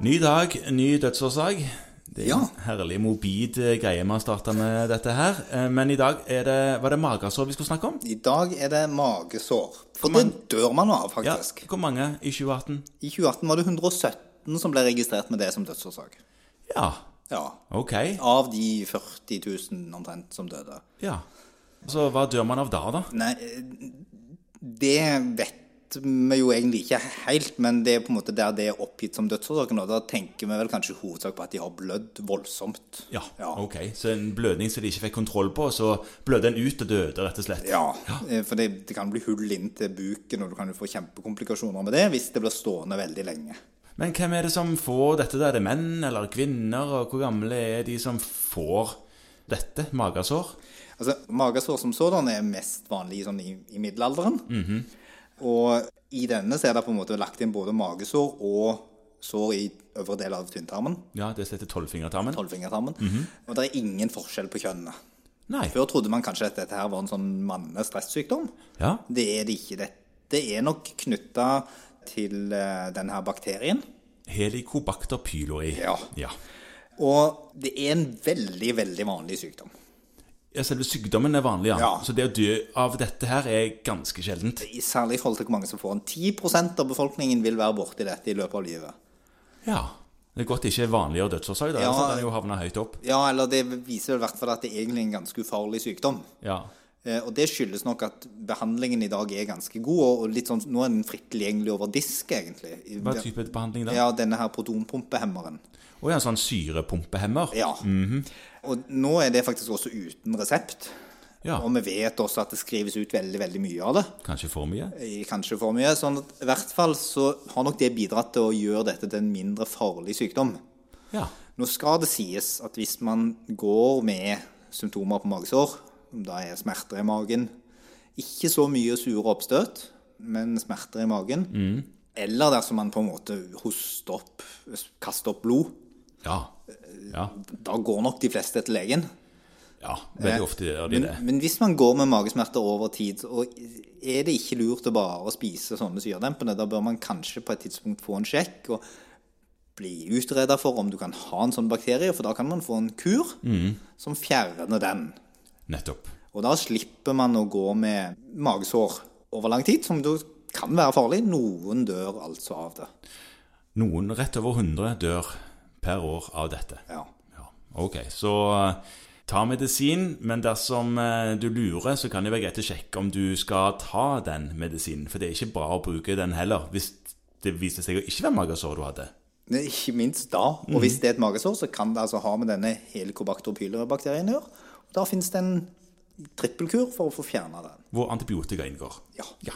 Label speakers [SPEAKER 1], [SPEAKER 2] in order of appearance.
[SPEAKER 1] Ny dag, ny dødsårsak. Det er
[SPEAKER 2] Ja.
[SPEAKER 1] en herlig morbid eh, greie vi har starta med dette her. Eh, Men i dag er det, var det magesår vi skulle snakke om.
[SPEAKER 2] I dag er det magesår. For
[SPEAKER 1] Hvor
[SPEAKER 2] det dør man av,
[SPEAKER 1] Ja,
[SPEAKER 2] faktisk.
[SPEAKER 1] Hvor mange i 2018?
[SPEAKER 2] I 2018 var det 117 som ble registrert med det som dødsårsak.
[SPEAKER 1] Ja,
[SPEAKER 2] Ja.
[SPEAKER 1] ok.
[SPEAKER 2] Av de 40 000 omtrent som døde.
[SPEAKER 1] Ja. Så hva dør man av da, da?
[SPEAKER 2] Nei, det vet vi jo egentlig ikke helt, men det er på en måte der det er oppgitt som dødsårsaken. Og da tenker vi vel kanskje i hovedsak på at de har blødd voldsomt.
[SPEAKER 1] Ja,
[SPEAKER 2] Ja.
[SPEAKER 1] ok. Så en blødning som de ikke fikk kontroll på, så blødde en ut og døde, rett og slett.
[SPEAKER 2] Ja, eh, for det, det kan bli hull inn til buken, og du kan jo få kjempekomplikasjoner med det hvis det blir stående veldig lenge.
[SPEAKER 1] Men hvem er det som får dette? da? Er det menn eller kvinner? Og hvor gamle er de som får dette? Magesår?
[SPEAKER 2] Altså, Magesår som sådan er mest vanlig sånn, i, i middelalderen. Og i denne så er det på en måte lagt inn både magesår og sår i øvre del av tynntarmen.
[SPEAKER 1] Ja, det som heter tolvfingertarmen?
[SPEAKER 2] Tolvfingertarmen. Og det er ingen forskjell på kjønnene.
[SPEAKER 1] Nei.
[SPEAKER 2] Før trodde man kanskje at dette her var en sånn mannestresssykdom.
[SPEAKER 1] Ja.
[SPEAKER 2] Det er det ikke. Det, det er nok knytta til eh, den her bakterien.
[SPEAKER 1] Helicobacter pylori.
[SPEAKER 2] Ja.
[SPEAKER 1] ja.
[SPEAKER 2] Og det er en veldig, veldig vanlig sykdom.
[SPEAKER 1] Ja, Selve sykdommen er vanlig, ja.
[SPEAKER 2] Ja.
[SPEAKER 1] Så det å dø av dette her er ganske sjeldent.
[SPEAKER 2] I- Særlig i forhold til hvor mange som får den. 10 av befolkningen vil være borti dette i løpet av livet.
[SPEAKER 1] Ja. Det er godt det ikke er vanligere dødsårsak. da,
[SPEAKER 2] Ja.
[SPEAKER 1] ellers hadde den jo havnet høyt opp.
[SPEAKER 2] Ja, eller det viser vel i hvert fall at det er egentlig en ganske ufarlig sykdom.
[SPEAKER 1] Ja.
[SPEAKER 2] Eh, Og det skyldes nok at behandlingen i dag er ganske god, og- og litt sånn, nå er den fritt tilgjengelig over disk, egentlig. I-
[SPEAKER 1] Hva type behandling da? Å ja.
[SPEAKER 2] Ja, denne her protonpumpehemmeren.
[SPEAKER 1] en sånn syrepumpehemmer?
[SPEAKER 2] Ja.
[SPEAKER 1] Mhm.
[SPEAKER 2] Og nå er det faktisk også uten resept.
[SPEAKER 1] Ja.
[SPEAKER 2] Og vi vet også at det skrives ut veldig, veldig mye av det.
[SPEAKER 1] Kanskje for mye?
[SPEAKER 2] Eh, Kanskje for mye. Sånn at i hvert fall så har nok det bidratt til å gjøre dette til en mindre farlig sykdom.
[SPEAKER 1] Ja.
[SPEAKER 2] Nå skal det sies at hvis man går med symptomer på magesår, om det er smerter i magen, ikke så mye sure oppstøt, men smerter i magen, eller dersom man på en måte hoster opp, kaster opp blod,
[SPEAKER 1] Ja. Ja.
[SPEAKER 2] da går nok de fleste til legen.
[SPEAKER 1] ja. Veldig ofte gjør de
[SPEAKER 2] Eh, Men,
[SPEAKER 1] det.
[SPEAKER 2] men hvis man går med magesmerter over tid, og er det ikke lurt å bare spise sånne syredempende, da bør man kanskje på et tidspunkt få en sjekk og bli utreda for om du kan ha en sånn bakterie, for da kan man få en kur som fjerner den.
[SPEAKER 1] Nettopp.
[SPEAKER 2] Og da slipper man å gå med magesår over lang tid, som da kan være farlig. Noen dør altså av det.
[SPEAKER 1] Noen rett over 100 dør per år av dette.
[SPEAKER 2] Ja.
[SPEAKER 1] Ja, ok. Så eh, ta medisin, men dersom eh, du lurer, så kan det være greit å sjekke om du skal ta den medisinen. For det er ikke bra å bruke den heller, hvis det viser seg å ikke være magesår du hadde.
[SPEAKER 2] Men ikke minst da. Og hvis det er et magesår, så kan det altså ha med denne helicobacter pylori-bakterien å gjøre. Og da finnes det en trippelkur for å få fjerna den.
[SPEAKER 1] Hvor antibiotika inngår.
[SPEAKER 2] Ja.
[SPEAKER 1] Ja.